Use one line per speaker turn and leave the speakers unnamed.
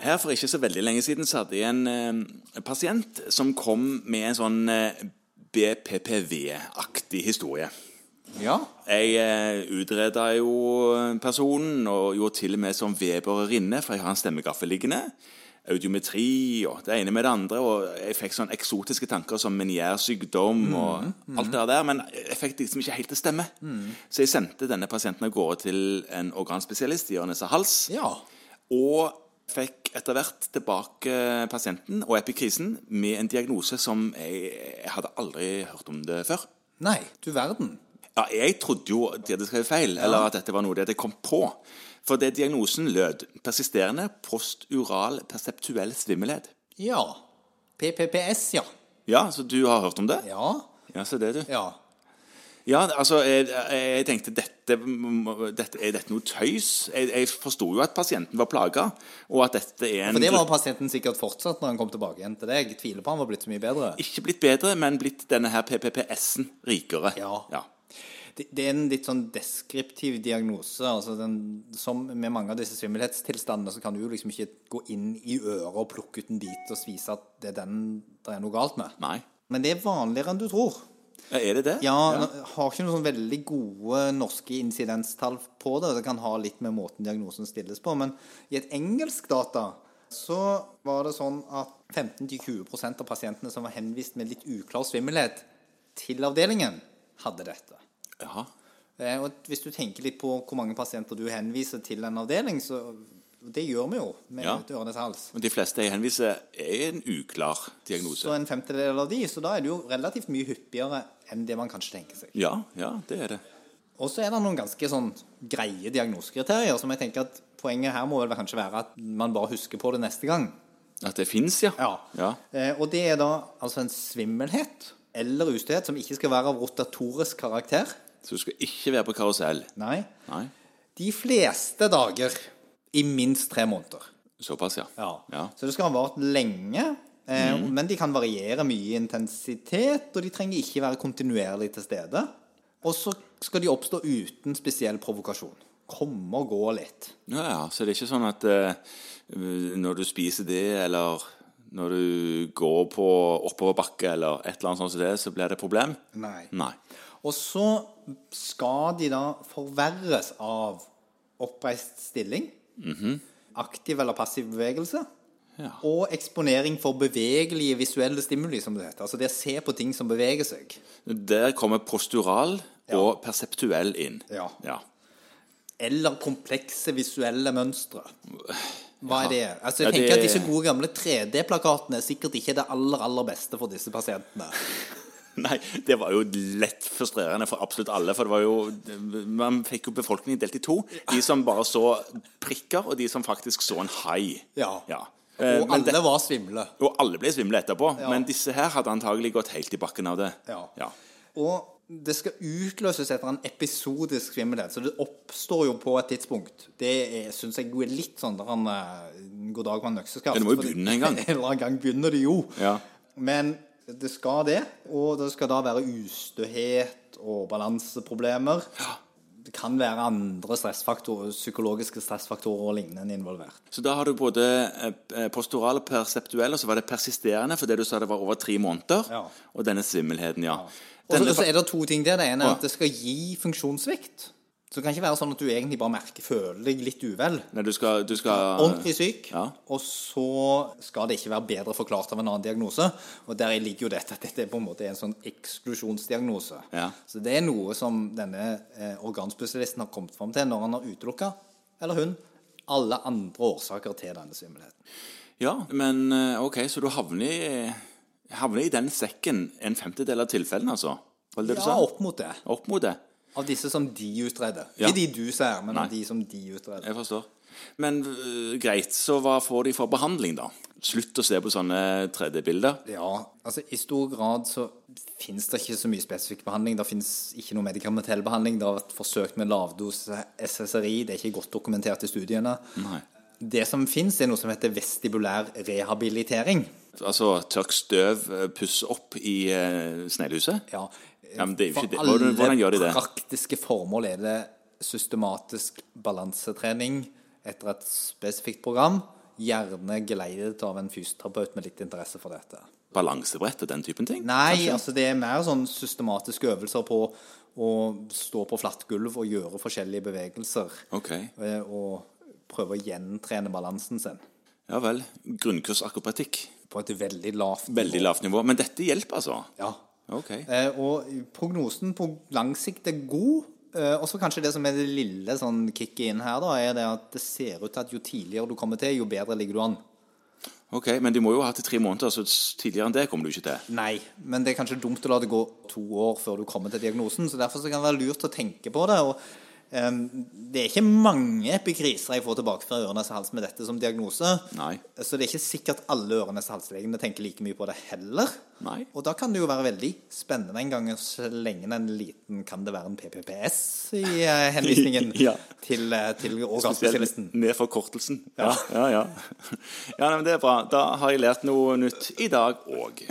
Her for ikke så veldig lenge siden så hadde jeg en eh, pasient som kom med en sånn eh, BPPV-aktig historie.
Ja.
Jeg eh, utreda jo personen, og gjorde til og med som Weber-rinne, for jeg har en stemmegaffel liggende. Audiometri og det ene med det andre. Og jeg fikk sånne eksotiske tanker som meniær sykdom og alt det der. Men jeg fikk liksom ikke helt til å stemme. Så jeg sendte denne pasienten av gårde til en organspesialist i Ørnesa Hals.
ja.
Og fikk etter hvert tilbake pasienten og epikrisen med en diagnose som jeg, jeg hadde aldri hørt om det før.
Nei, du verden.
Ja, jeg trodde jo de hadde skrevet feil, eller at dette var noe de hadde kommet på. For det diagnosen lød persisterende postural perseptuell svimmelhet.
Ja. PPPS, ja.
Ja, så du har hørt om det?
Ja.
Ja, så det, du.
Ja.
Ja, altså, jeg, jeg tenkte dette, må- dette Er dette noe tøys? Jeg, jeg forsto jo at pasienten var plaga, og at dette er en
For det var pasienten sikkert fortsatt når han kom tilbake igjen til deg. Jeg tviler på han var blitt så mye bedre.
ikke blitt bedre, men blitt denne her PPPS-en rikere.
Ja. Det, det er en litt sånn deskriptiv diagnose. altså den, Som med mange av disse svimmelhetstilstandene, så kan du jo liksom ikke gå inn i øret og plukke ut en bit og vise at det er den det er noe galt med.
Nei.
Men det er vanligere enn du tror.
Ja, Er det det?
Ja, nå- Har ikke noen sånn veldig gode norske insidenstall på det. Det kan ha litt med måten diagnosen stilles på. Men i et engelsk data så var det sånn at 15-20 av pasientene som var henvist med litt uklar svimmelhet til avdelingen, hadde dette.
Jaha.
Eh, Og hvis du tenker litt på hvor mange pasienter du henviser til en avdeling, så og Det gjør vi jo med
Ja.
et ørenes hals.
Men de fleste jeg henviser, er en uklar diagnose.
Så en femtedel av de, så da er det jo relativt mye hyppigere enn det man kanskje tenker seg.
Ja, ja, det er det.
Og så er det noen ganske sånn greie diagnosekriterier som jeg tenker at poenget her må vel kanskje være at man bare husker på det neste gang.
At det fins, ja. ja.
Eh, Og det er da altså en svimmelhet eller ustøhet som ikke skal være av rotatorisk karakter.
Så du skal ikke være på karusell.
Nei.
Nei.
De fleste dager i minst tre måneder.
Såpass, ja. ja. Mm.
Så det skal ha vart lenge, eh, men de kan variere mye i intensitet, og de trenger ikke være kontinuerlig til stede. Og så skal de oppstå uten spesiell provokasjon. Komme og gå litt.
Ja, ja. Så det er ikke sånn at eh, når du spiser det, eller når du går på oppoverbakke eller et eller annet sånt som det, så blir det et problem?
Nei.
Nei.
Og så skal de da forverres av oppreist stilling, aktiv eller passiv bevegelse,
Mhm. Ja.
og eksponering for bevegelige visuelle stimuli, som det heter. Altså det å se på ting som beveger seg.
Der kommer postural og perseptuell inn.
Ja.
ja.
Eller komplekse visuelle mønstre. Hva er det? Altså, jeg
Ja,
tenker at
det-
Disse gode gamle 3D-plakatene er sikkert ikke det aller aller beste for disse pasientene.
Nei, det var jo lett frustrerende for absolutt alle. For det var jo Man fikk jo befolkningen delt i to. De som bare så prikker, og de som faktisk så en hai.
Ja.
Eh,
Og
men det,
alle var svimle.
og alle ble svimle etterpå.
Ja.
Men disse her hadde antagelig gått helt i bakken av det.
Ja. Og det skal utløses etter en episodisk svimmelhet, så det oppstår jo på et tidspunkt. Det syns jeg er litt sånn der en eh, god dag med en økseskaft.
Ja, det må jo
fordi-
begynne en gang.
en eller annen gang begynner det jo.
Ja.
Men det skal det, og det skal da være ustøhet og balanseproblemer. Det kan være andre stressfaktorer, psykologiske stressfaktorer og lignende involvert.
Så da har du både eh, postural og perseptuell, og så var det persisterende fordi du sa det var over tre måneder.
Ja.
Og denne svimmelheten, ja.
Og så-
Denne-
og så er det to ting der. Det ene er
Å.
at det skal gi funksjonssvikt. Så det kan ikke være sånn at du egentlig bare merker, føler deg litt uvel.
Nei, du skal, du skal
Ordentlig syk,
Ja.
og så skal det ikke være bedre forklart av en annen diagnose. Og der ligger jo dette at dette er på en måte en sånn eksklusjonsdiagnose.
Ja.
Så det er noe som denne eh, organspesialisten har kommet fram til når han har utelukka, eller hun, alle andre årsaker til denne svimmelheten.
Ja, men eh, ok, så du havner i, havner i den sekken en femtedel av tilfellene, altså? Var det det du
Ja,
sa?
opp mot det.
Opp mot det.
Av disse som de utreder.
Ja.
Ikke de du ser, men
Nei.
av de som de utreder.
Jeg forstår. Men øh, greit, så hva får de for behandling, da? Slutt å se på sånne 3D-bilder.
Ja, altså i stor grad så finnes det ikke så mye spesifikk behandling. Det finnes ikke noe medikamentell behandling. Det har vært forsøkt med lavdose SSRI. Det er ikke godt dokumentert i studiene.
Nei.
Det som finnes, er noe som heter vestibulær rehabilitering.
Altså tørk støv, øh, pusse opp i uh, sneglehuset?
Ja,
Ja, men det er jo
for
ikke det. Hvordan, hvordan gjør de det?
alle praktiske formål er det systematisk balansetrening etter et spesifikt program Gjerne geleidet av en fysioterapeut med litt interesse for dette.
Balansebrett og den typen ting?
Nei, altså det er mer sånn systematiske øvelser på å stå på flatt gulv og gjøre forskjellige bevegelser.
Ok.
eh, Og prøve å gjentrene balansen sin
Ja vel. Grunnkurs akrobatikk.
på et veldig lavt nivå.
Veldig lavt nivå. Men dette hjelper, altså?
Ja.
Ok.
Eh, Og prognosen på lang sikt er god. Eh, Også kanskje det som er det lille sånn kicket inn her, da, er det at det ser ut til at jo tidligere du kommer til, jo bedre ligger du an.
Ok, Men de må jo ha hatt det i tre måneder, så tidligere enn det kommer du ikke til.
Nei, men det er kanskje dumt å la det gå to år før du kommer til diagnosen, så derfor så kan det være lurt å tenke på det. og ehm, det er ikke mange epikriser jeg får tilbake fra ørenes hals med dette som diagnose.
Nei.
Så det er ikke sikkert alle ørenes halslegene tenker like mye på det heller.
Nei.
Og da kan det jo være veldig spennende en gang så lenge en liten Kan det være en PPPS i eh, henvisningen
Ja.
til, eh, til organspesialisten?
Med forkortelsen. Ja, ja. ja. ja nei, men det er bra. Da har jeg lært noe nytt i dag òg.